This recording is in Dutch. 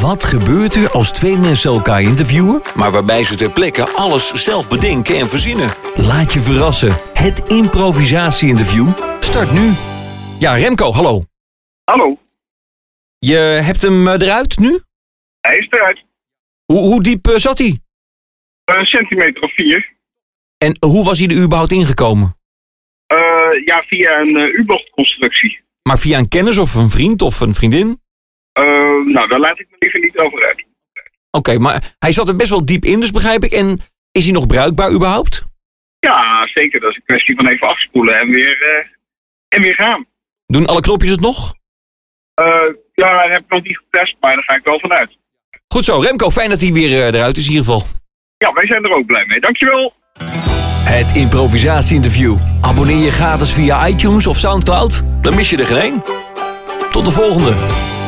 Wat gebeurt er als twee mensen elkaar interviewen? maar waarbij ze ter plekke alles zelf bedenken en verzinnen. Laat je verrassen. Het improvisatie-interview start nu. Ja, Remco, hallo. Hallo, Je hebt hem eh, eruit nu? hij is eruit. Hoe, hoe diep eh, zat hij? Een centimeter of vier. En hoe was hij er überhaupt ingekomen? Eh, ja, via een eh, U-bochtconstructie. Maar via een kennis of een vriend of een vriendin? Oké, Eh, nou, daar laat ik me liever niet over uit. maar hij zat er best wel diep in, dus begrijp ik. En is hij nog bruikbaar überhaupt? Ja, zeker. Dat is een kwestie van even afspoelen en weer, eh, en weer gaan. Doen alle knopjes het nog? Eh, ja, dat heb ik nog niet getest, maar daar ga ik wel vanuit. Goed zo, Remco, fijn dat hij weer eh, eruit is in ieder geval. Ja, wij zijn er ook blij mee. Dankjewel. Het improvisatie-interview. Abonneer je gratis via iTunes of Soundcloud. Dan mis je er geen één. Tot de volgende.